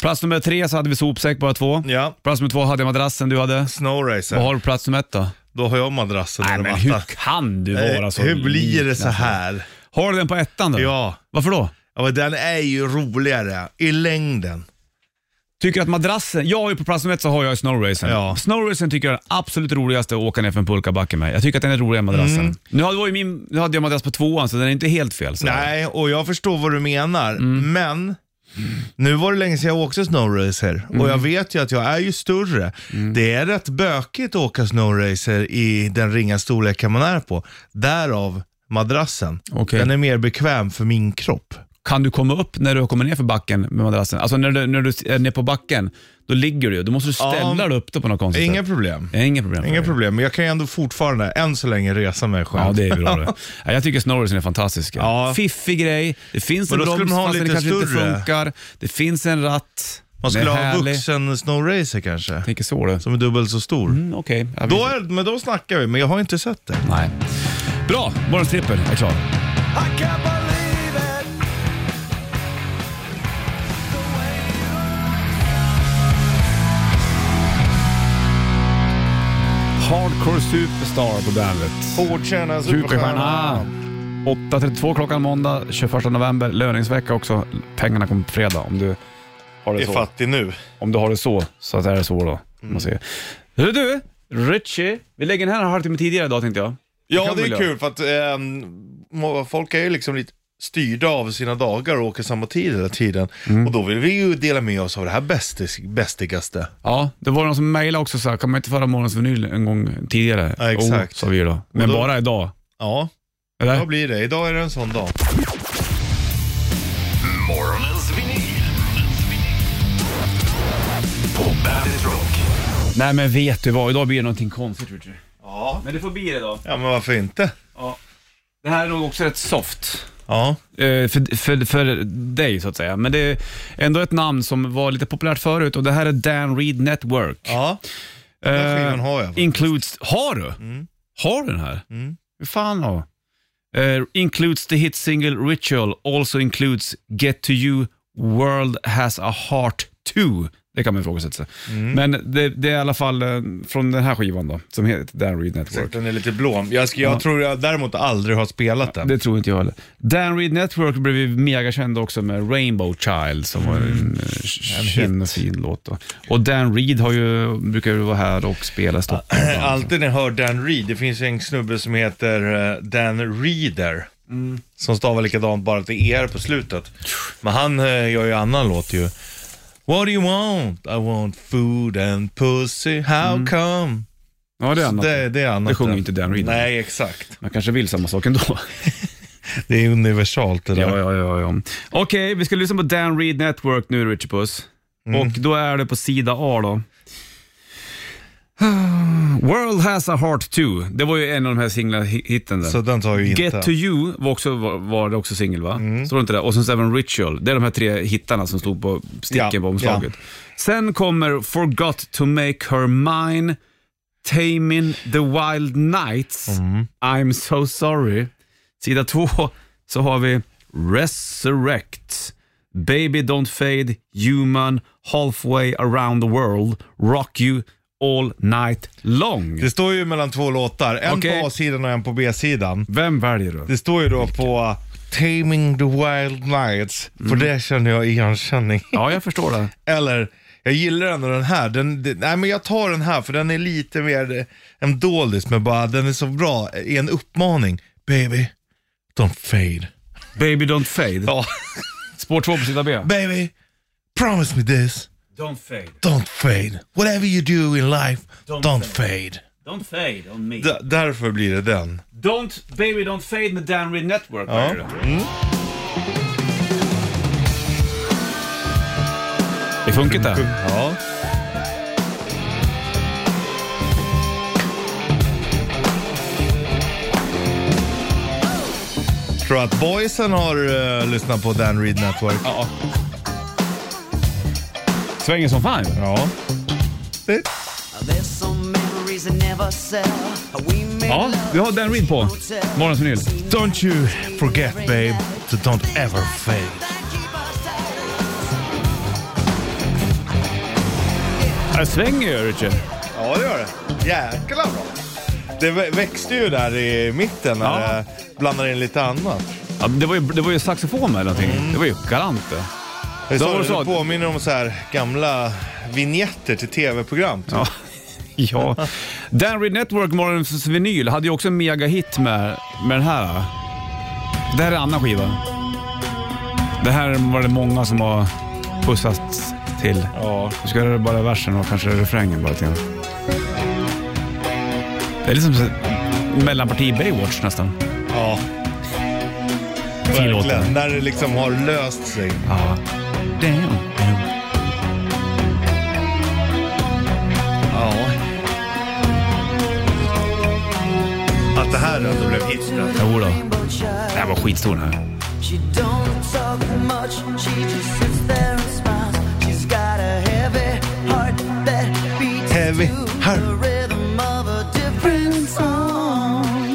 S2: Plats nummer tre så hade vi sopsäck bara två.
S3: Ja.
S2: Plats nummer två hade jag madrassen du hade.
S3: Snowracer.
S2: Vad har du på plats nummer ett då?
S3: Då har jag madrassen
S2: Nej
S3: under
S2: men hur
S3: mattan.
S2: kan du vara
S3: Eh,
S2: så
S3: Hur blir det
S2: liten?
S3: så här?
S2: Har du den på ettan då?
S3: Ja.
S2: Varför då?
S3: ja, men den är ju roligare i längden.
S2: Tycker du att madrassen, jag har ju på plats nummer ett så har jag ju snowracen.
S3: Ja.
S2: Snowracen tycker jag är den absolut roligaste att åka ner för en pulkabacke med. Jag tycker att den är roligare än madrassen.
S3: Mm.
S2: Nu, hade, var ju min, nu hade jag madrass på tvåan så den är inte helt fel. Så
S3: Nej, och jag förstår vad du menar,
S2: Mm.
S3: men nu var det länge sedan jag åkte snowracer och
S2: Mm.
S3: jag vet ju att jag är ju större. Det är rätt bökigt att åka snowracer i den ringa storleken man är på. Därav madrassen.
S2: Okej.
S3: Den är mer bekväm för min kropp.
S2: Kan du komma upp när du kommer ner för backen med madrassen? Alltså när du, när du är ner på backen, då ligger du ju. Då måste du ställa
S3: Ja.
S2: dig upp det på något konstigt
S3: Inga
S2: sätt.
S3: problem.
S2: Ja, Inga problem.
S3: Inga problem, men jag kan ju ändå fortfarande, än så länge, resa mig själv.
S2: Ja, det är bra det. Ja, jag tycker snowracen är fantastisk.
S3: Ja.
S2: Fiffig grej, det finns en
S3: Men då skulle
S2: broms
S3: man ha
S2: fast den
S3: lite
S2: kanske inte
S3: större.
S2: funkar. Det finns en ratt.
S3: Man skulle
S2: Den är
S3: ha
S2: härlig.
S3: vuxen snowracer kanske,
S2: Tänker så du.
S3: som är dubbelt så stor.
S2: Mm, Okej. Ja, vi-
S3: Då är, men då snackar vi, men jag har inte sett det.
S2: Nej. Bra, morgons trippel är klar. Hardcore Superstar på bandet.
S3: Fortkärna,
S2: Superstjärna. 8.32 klockan måndag, 21 november, löningsvecka också. Pengarna kommer på fredag om du har det
S3: Är
S2: så.
S3: fattig nu.
S2: Om du har det så, så att det är så då. om
S3: Mm.
S2: Man säger. Hörru du, Richie. Vi lägger den här en halvtimme tidigare idag tänkte jag.
S3: Ja,
S2: kan
S3: det
S2: väl
S3: är
S2: göra.
S3: kul för att ehm, må- folk är ju liksom lite styrda av sina dagar och åker samma tid hela tiden.
S2: Mm.
S3: Och då vill vi ju dela med oss av det här bästis, bästigaste.
S2: Ja, det var någon som mejlade också så här, kan man inte föra morgonens vinyl en gång tidigare? Oh,
S3: Ja, exakt.
S2: Jo, sa vi ju då. Men
S3: Och då-
S2: bara idag.
S3: Ja,
S2: Eller?
S3: vad blir det? Idag är det en sån dag.
S1: Morgonens vinyl. På Bandit Rock.
S2: Nej men vet du vad, idag blir det någonting konstigt Richard.
S3: Ja,
S2: Men det får bli det idag.
S3: ja men varför inte?
S2: Det här är nog också rätt soft.
S3: Ja,
S2: eh, För, för, för dig så att säga. Men det är ändå ett namn som var lite populärt förut och det här är Dan Reed Network. Eh,
S3: ja. den här skivan har jag faktiskt.
S2: Includes, har du? Har du den här?
S3: Mm.
S2: Hur fan då? Eh, includes the hit single Ritual, also includes Get To You, World Has A Heart 2 Det kan man ifrågasätta.
S3: Mm.
S2: Men det, det är i alla fall eh, från den här skivan då, som heter Dan Reed Network.
S3: Den är lite blå. Jag, ska, jag tror jag däremot aldrig har spelat den.
S2: Det tror inte jag heller. Dan Reed Network blev ju megakänd också med Rainbow Child som var
S3: Mm.
S2: en eh, känd och fin låt. Då. Och Dan Reed har ju, brukar ju vara här och spela i Stockholm.
S3: Eh, Alltid när jag hör Dan Reed, det finns ju en snubbe som heter eh, Dan Reader. Som stavar likadant bara till er på slutet. Men han eh, gör ju annan låt ju. What do you want? I want food and pussy, how come?
S2: Ja, Mm. det är annat.
S3: Det, det är annat.
S2: Det sjunger
S3: än-
S2: inte Dan Reed.
S3: Nej, exakt.
S2: Man kanske vill samma sak ändå.
S3: Det är universalt det där.
S2: Ja, ja, ja, ja. Okej, vi ska lyssna på Dan Reed Network nu, Richie Puss.
S3: Mm.
S2: Och då är det på sida A då. World has a heart too. Det var ju en av de här singla-hitten där.
S3: Så den tar ju inte. Mm.
S2: Get to you var, också, var, var det också singel va? Står det inte där? Och sen Seven Ritual. Det är de här tre hittarna som stod på sticken
S3: Ja,
S2: på omslaget. Sen kommer Forgot to make her mine, Taming the wild nights,
S3: Mm.
S2: I'm so sorry. Sida två så har vi Resurrect, Baby don't fade, Human, Halfway around the world, Rock you all night long.
S3: Det står ju mellan två låtar. En
S2: Okej.
S3: på A-sidan och en på B-sidan.
S2: Vem väljer du?
S3: Det står ju då på Taming the Wild Nights.
S2: Mm.
S3: För det känner jag igenkänning.
S2: Ja, jag förstår det.
S3: Eller, jag gillar ändå den här. Den, den, nej men jag tar den här för den är lite mer eh, en doldis men bara den är så bra i en uppmaning. Baby, don't fade.
S2: Baby don't fade.
S3: Ja,
S2: Spår 2 på sida B.
S3: baby, promise me this.
S2: Don't fade,
S3: Don't fade. Whatever you do in life, don't, fade.
S2: don't fade on me.
S3: D- därför blir det den.
S2: Don't, baby don't fade med Dan Reed Network.
S3: Ja.
S2: vad är det? Det funkar inte.
S3: Ja. Tror du att boysen har eh, lyssnat på Dan Reed Network?
S2: Ja. Svänger som fan ju.
S3: Ja. Det-
S6: There's some memories that never sell. We made
S2: Ja, vi har Dan Reed på. Morgonens vinyl.
S3: Don't you forget babe, to don't ever fade.
S2: Det Äh, svänger ju Richie.
S3: Ja, det gör det. Jäklar bra. Det vä- växte ju där i mitten när
S2: Ja.
S3: det blandade in lite annat.
S2: Ja, det, var ju, det var ju saxofon med eller någonting. Det var ju galant det.
S3: Det,
S2: var det
S3: så,
S2: så
S3: det
S2: att-
S3: påminner om så här gamla vignetter till tv-program.
S2: Ja. ja. Dan Reed Network, morgonens vinyl, hade ju också en megahit med, med den här. Det här är en annan skiva. Det här var det många som har pussat till.
S3: Ja.
S2: Nu ska jag höra bara versen och kanske refrängen bara lite grann. Det är liksom så- mellanparti i Baywatch nästan.
S3: Ja,
S2: Fin låt.
S3: verkligen. När det liksom har löst sig.
S2: Ja. Damn.
S3: Ja. Att det här ändå blev hit. där.
S2: Jodå.
S6: rainbow child.
S2: Det här var skitstor den här.
S6: She don't talk much. She just sits there and smiles. She's got a heavy heart that beats
S3: Heavy
S6: to
S3: heart.
S6: the rhythm of a different song.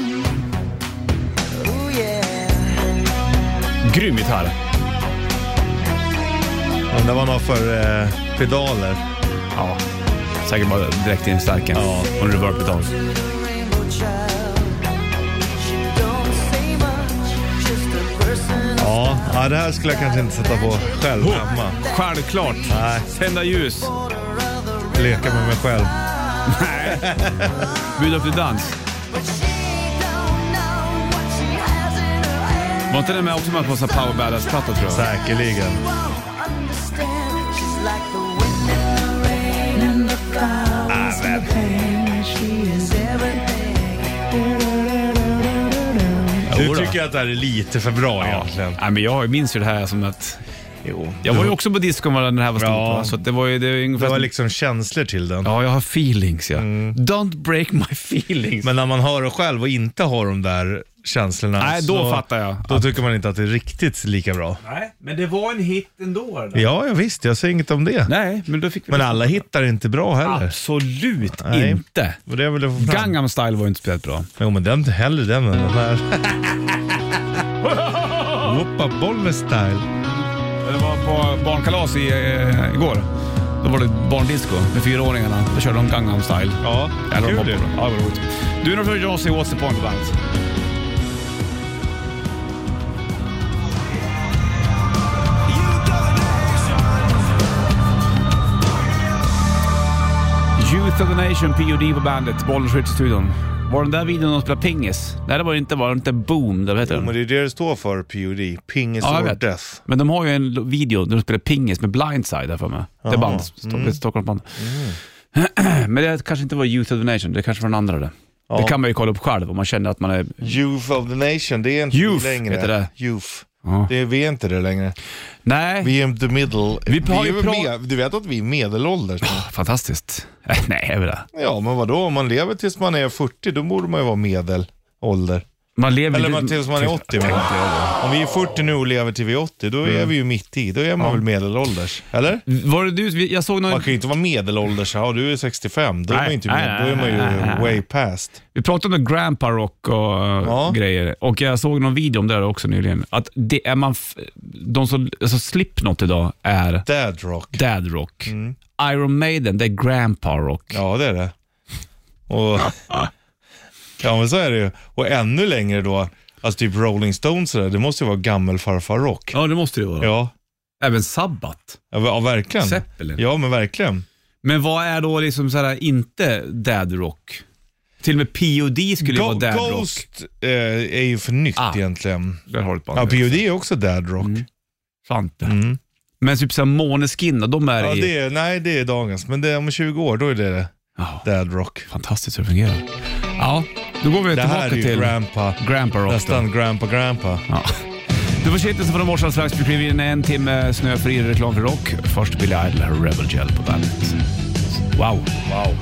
S6: Ooh yeah.
S2: Grym gitarr.
S3: Undrar vad han har för eh, pedaler.
S2: Ja. Säkert bara direkt in stärken. Ja. Och en reverb-pedal.
S6: To the rainbow child. She don't say much. Just a person.
S3: Ja. ja, det här skulle jag kanske inte sätta på själv hemma.
S2: Självklart.
S3: Nej.
S2: Tända ljus.
S3: Leka med mig själv.
S2: Bjud upp till dans. Var inte den med också med på en sån här Power Badass-platta tror jag?
S3: Säkerligen.
S2: Jo
S3: Nu
S2: då.
S3: tycker jag att det här är lite för
S2: Ja.
S3: bra egentligen.
S2: Nej, men jag minns ju det här som att...
S3: Jo.
S2: Jag var ju också på discon när den här var stor.
S3: Ja.
S2: va? Så att det var ju det var ju ungefär...
S3: Det var
S2: som-
S3: liksom Mm. känslor till den.
S2: Ja, jag har feelings ja. Don't break my feelings.
S3: Men när man hör det själv och inte har de där känslorna.
S2: Nej, då fattar jag.
S3: Då tycker man inte att det är riktigt lika bra.
S2: Nej, men det var en hit ändå.
S3: Ja, ja visst. Jag säger inget om det.
S2: Nej, men då fick vi...
S3: Men alla hittar inte bra heller.
S2: Absolut
S3: Nej.
S2: inte.
S3: Och det vill jag få fram.
S2: Gangnam style var ju inte speciellt bra.
S3: Jo, men den, hellre den än den här. Whoppa Bolle style.
S2: Jag var på barnkalas i, eh, igår. då var det barndisco med fyraåringarna. Då körde de Gangnam style.
S3: Ja,
S2: Eller de
S3: kul
S2: hoppade.
S3: ju.
S2: Ja, det var roligt. Du, nu får jag se What's the point på bandet. Youth of the Nation, POD på bandet, Bollnäs Ritz-studion. Var den där videon de spelade pingis? Nej, det var ju inte, var det inte Boom, eller vad heter
S3: Men
S2: den?
S3: det är det det står för, POD. Ping is
S2: Ja, jag
S3: or
S2: vet.
S3: death.
S2: Men de har ju en l- video där de spelar pingis med Blindside, där för mig. Det är band, mm. Stockholmsband. Men det kanske inte var Youth of the Nation, det kanske var den andra det. Det kan man ju kolla upp själv om man känner att man är...
S3: Youth of the Nation, det är inte
S2: Youth
S3: vi längre.
S2: heter det.
S3: Youth.
S2: Ja.
S3: Det är, vi är inte det längre.
S2: Nej,
S3: Vi är the middle.
S2: Vi har ju
S3: är
S2: pra-
S3: med, du vet att vi är medelålders nu?
S2: fantastiskt. Nej, jag vet inte.
S3: Ja, men vadå? Om man lever tills man är 40, då borde man ju vara medelålder.
S2: Man lever
S3: Eller
S2: ju-
S3: man, tills man är 80. Men. Om vi är 40 nu och lever till vi är 80, då
S2: Mm.
S3: är vi ju mitt i. Då är man väl medelålders? Eller?
S2: Var det du? Jag såg någon...
S3: Man kan ju inte vara medelålders, ja du är 65, då är
S2: Nej,
S3: man ju, inte
S2: nej,
S3: med, då är man
S2: nej, nej,
S3: ju
S2: nej.
S3: way past.
S2: Vi pratade om grandpa rock och eh,
S3: Ja.
S2: grejer och jag såg någon video om det där också nyligen. Att det är man f- de som alltså, Slipknot idag är
S3: Dad rock.
S2: dad rock.
S3: Mm.
S2: Iron Maiden, det är grandpa rock.
S3: Ja, det är det. Och, ja, men så är det ju. Och ännu längre då, alltså typ Rolling Stones och det, det måste ju vara gammelfarfar-rock.
S2: Ja, det måste det vara.
S3: Ja.
S2: Även Sabbat.
S3: Ja, ja, verkligen.
S2: Zeppelin.
S3: Ja, men verkligen.
S2: Men vad är då liksom så här, inte dad rock? Till och med POD skulle ju vara
S3: Go-
S2: dad rock.
S3: Ghost eh, är ju för nytt
S2: Ah. Mm.
S3: egentligen.
S2: Där har du ett band.
S3: Ja, POD är också dad rock.
S2: Sant det.
S3: Mm.
S2: Men typ såhär Måneskin, då, de är
S3: Ja,
S2: i...
S3: det är, nej, det är dagens, men det är om 20 år, då är det det.
S2: Ja,
S3: Dad rock.
S2: fantastiskt hur det fungerar. Ja, då går vi
S3: Det här
S2: tillbaka
S3: är ju
S2: till
S3: grandpa.
S2: grandpa rock. då.
S3: Nästan grandpa, grandpa.
S2: Ja. Det var shitlisten från morsan strax. Vi kliver in i en timme snöfri reklam för rock. Först Billy Idol, Rebel Gel på bandet. Wow. Wow.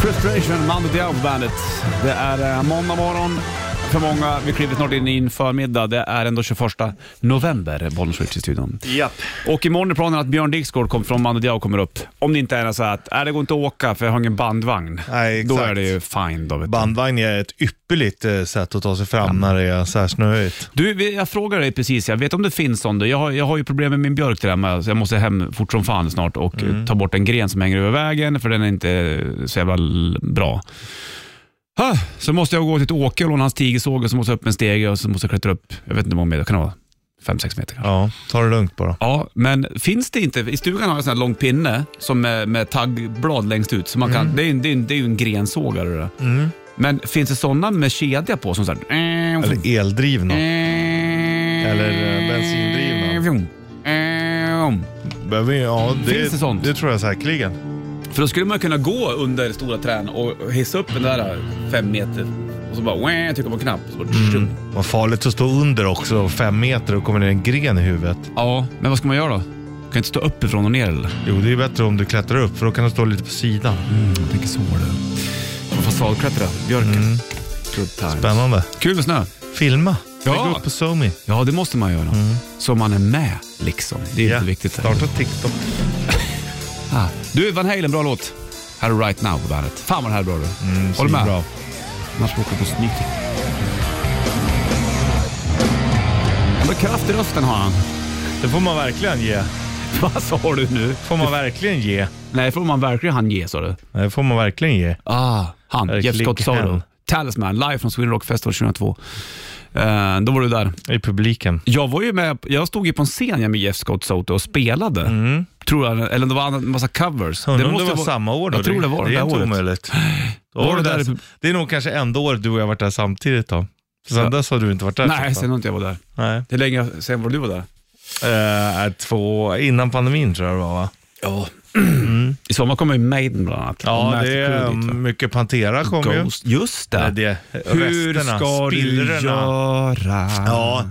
S2: Frustration, Mando Diao på bandet. Det är eh, måndag morgon för många. Vi kliver snart in i en förmiddag. Det är ändå 21 november, Bollnäs Ritz i studion. Och imorgon är planen att Björn Dixgård kom från Mando Diao kommer upp. Om det inte är så att, är det går inte att åka för jag har ingen bandvagn.
S3: Nej,
S2: Då
S3: exakt.
S2: är det ju fine då. Vet du.
S3: Bandvagn är ett ypperligt eh, sätt att ta sig fram när det är så här snöigt.
S2: Du, vi- jag frågar dig precis, jag vet om det finns sån. du. Jag har, jag har ju problem med min björk där hemma, så jag måste hem fort som fan snart och eh, ta bort en gren som hänger över vägen, för den är inte eh, så jävla l- bra. Ah, så måste jag gå till ett åker och låna hans tigersåg och så måste jag upp en stege och så måste jag klättra upp, jag vet inte hur många meter, kan det vara 5-6 meter kanske.
S3: Ja, ta det lugnt bara.
S2: Ja, men finns det inte, i stugan har jag en sån här lång pinne som med, med taggblad längst ut, så man kan, det är ju en, det är en, det är ju en grensågare det där. Men finns det sådana med kedja på som såhär...
S3: Eller
S2: Mm.
S3: eldrivna. Eller eh, bensindrivna. Behöver, ja, det,
S2: Mm. Finns det sånt?
S3: Det tror jag säkerligen.
S2: För då skulle man kunna gå under stora trän och hissa upp den där fem meter och så bara wah, trycka på en knapp. Så bara, tjum.
S3: Vad farligt att stå under också, fem meter och kommer ner en gren i huvudet.
S2: Ja, men vad ska man göra då? Kan jag inte stå uppifrån och ner eller?
S3: Jo, det är bättre om du klättrar upp för då kan du stå lite på sidan.
S2: Mm, Jag tänker så du. Fasadklättra, björken. Good times.
S3: Spännande.
S2: Kul med snö.
S3: Filma.
S2: Ja.
S3: Lägg upp på SoMe.
S2: Ja, det måste man göra. Så man är med liksom. Det är
S3: Ja.
S2: viktigt.
S3: Starta TikTok.
S2: Ah. Du, Van Halen, bra låt. Här är Right Now på bandet. Fan vad Mm, det här är bra du. Håller du med?
S3: Bra.
S2: Annars åker du på snyting. Ändå kraft i rösten har han.
S3: Det får man verkligen ge.
S2: Vad sa du nu?
S3: Får man verkligen ge.
S2: Nej, får man verkligen han ge sa du?
S3: Nej, Det får man verkligen ge.
S2: Ah, han.
S3: Erik
S2: Jeff Scott
S3: Lickhan.
S2: Sorrow. Talisman, live från Sweden Rock Festival 2002. Eh, då var du där.
S3: I publiken.
S2: Jag var ju med, jag stod ju på en scen med Jeff Scott Soto och spelade. Tror jag, eller det var en massa covers.
S3: Mm. Undrar om det
S2: måste
S3: var
S2: vara-
S3: samma år då?
S2: Jag tror det var det,
S3: Det är
S2: där
S3: inte
S2: året.
S3: omöjligt. Då
S2: Var
S3: var
S2: det
S3: det,
S2: där i
S3: där,
S2: pub-
S3: det är nog kanske enda året du och jag varit där samtidigt då. Sen
S2: Ja.
S3: dess har du inte varit där.
S2: Nej,
S3: så fall.
S2: sen har inte jag var där.
S3: Nej.
S2: Det är länge sen var du var där.
S3: Eh, två, innan pandemin tror jag det var va?
S2: Ja. I sommar kommer ju Maiden bland annat. Och
S3: Ja,
S2: Master
S3: det är
S2: Crew dit, va?
S3: um, mycket Pantera kom ju.
S2: Ghost. Just
S3: Det
S2: det.
S3: är det.
S2: Hur
S3: Resterna,
S2: ska du
S3: spillrorna.
S2: göra?
S3: Ja,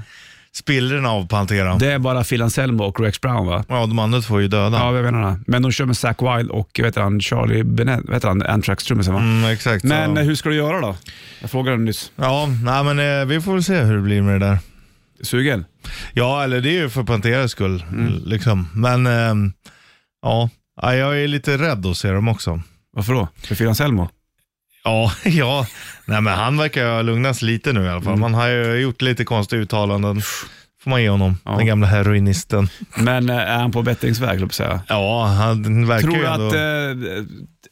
S3: spillrorna av Pantera.
S2: Det är bara Phil Anselmo och Rex Brown va?
S3: Ja, de andra två är ju döda.
S2: Ja, jag menar det. Men de kör med Zack Wilde och vet han, Charlie Bennett, vet han, Anthrax-trummisen va?
S3: Mm, exakt.
S2: Men eh,
S3: ja,
S2: hur ska du göra då? Jag frågade dem nyss.
S3: ja nej, men eh, vi får väl se hur det blir med det där.
S2: Sugen?
S3: Ja, eller det är ju för Panteras skull. Liksom. Men ehm, ja, Ja, jag är lite rädd att se dem också.
S2: Varför då? För Phil Anselmo?
S3: Ja, ja. Nej, men han verkar ha lugnats lite nu i alla fall.
S2: Mm.
S3: Man har ju gjort lite konstiga uttalanden. Får man ge honom, den gamla heroinisten.
S2: Men eh, är han på bättringsväg, höll jag på att säga.
S3: Ja, han verkar
S2: Tror
S3: ju
S2: du
S3: ändå...
S2: att,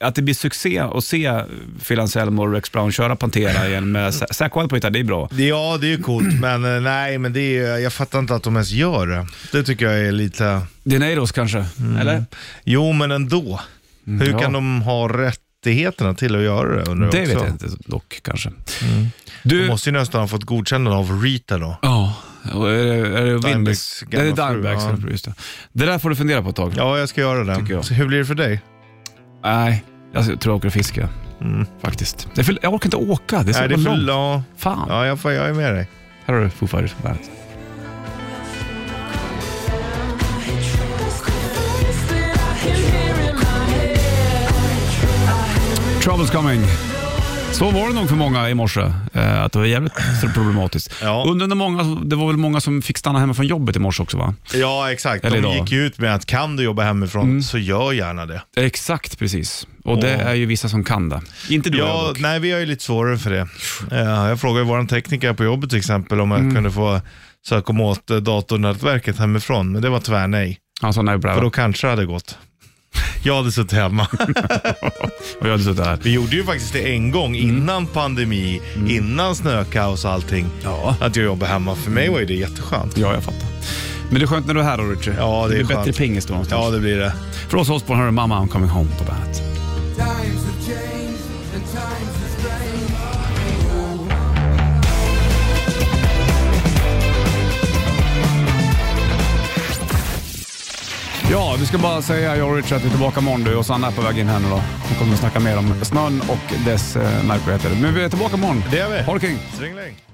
S2: eh, att det blir succé att se Phil Anselmo och Rex Brown köra Pantera igen med Sa- Zac Wild på gitarr? Det är bra.
S3: Ja, det är ju coolt, men eh, nej, men det är, jag fattar inte att de ens gör det. Det tycker jag är lite...
S2: Dineros kanske, eller?
S3: Jo, men ändå. Mm. Hur
S2: ja.
S3: kan de ha rättigheterna till att göra det? Undrar
S2: Det
S3: också. Mm.
S2: vet jag inte dock kanske.
S3: De
S2: Du,
S3: måste ju nästan ha fått godkännande av Rita då.
S2: ja, och är det, är det Windows?
S3: Dimebacks
S2: Det är
S3: gamla fru,
S2: Dimebacks,
S3: ja.
S2: ja. just det. Det där får du fundera på ett tag.
S3: Ja, jag ska göra
S2: Tycker
S3: det.
S2: jag.
S3: Så hur blir det för dig?
S2: Nej, jag tror jag åker och fiskar. Faktiskt. Det är för, jag orkar inte åka, det är så
S3: Mm. Nej, det är
S2: jävla
S3: för
S2: långt.
S3: långt.
S2: Fan.
S3: Ja, jag, får- jag är med dig.
S2: Här har du Foo Fighters på bandet. Trouble's coming. Så var det nog för många i morse, eh, att det var jävligt så problematiskt.
S3: Ja.
S2: Undrar om det många, det var väl många som fick stanna hemma från jobbet i morse också va?
S3: Ja, exakt.
S2: Eller
S3: de
S2: idag. Mm.
S3: gick ju ut med att kan du jobba hemifrån så gör gärna det.
S2: Exakt, precis. Och det
S3: Åh.
S2: är ju vissa som kan det. Inte du
S3: Ja,
S2: och jag dock.
S3: nej, vi har ju lite svårare för det. Ja, jag frågade vår tekniker på jobbet till exempel om jag
S2: Mm.
S3: kunde få söka om åt eh, datornätverket hemifrån, men det var tyvärr nej.
S2: Han sa nej på det
S3: För
S2: här.
S3: då kanske det hade gått. Jag hade suttit hemma.
S2: Och jag hade suttit här.
S3: Vi gjorde ju faktiskt det en gång
S2: Mm.
S3: innan pandemi, innan snökaos och allting.
S2: Ja.
S3: Att jag jobbade hemma. För mig var ju det jätteskönt.
S2: Ja, jag fattar. Men det är skönt när du är här då, Richie.
S3: Ja, det är
S2: blir
S3: skönt.
S2: bättre pingis då någonstans.
S3: Ja, det blir det.
S2: För oss Osbourne har du Mamma I'm coming home på bandet. Ja, vi ska bara säga jag och Richard att vi är tillbaka imorgon du och Sanna är på väg in här nu då. Vi kommer att snacka mer om snön och dess eh, märkligheter. Men vi är tillbaka imorgon.
S3: Det är vi.
S2: Ha det kring.
S3: Stringling.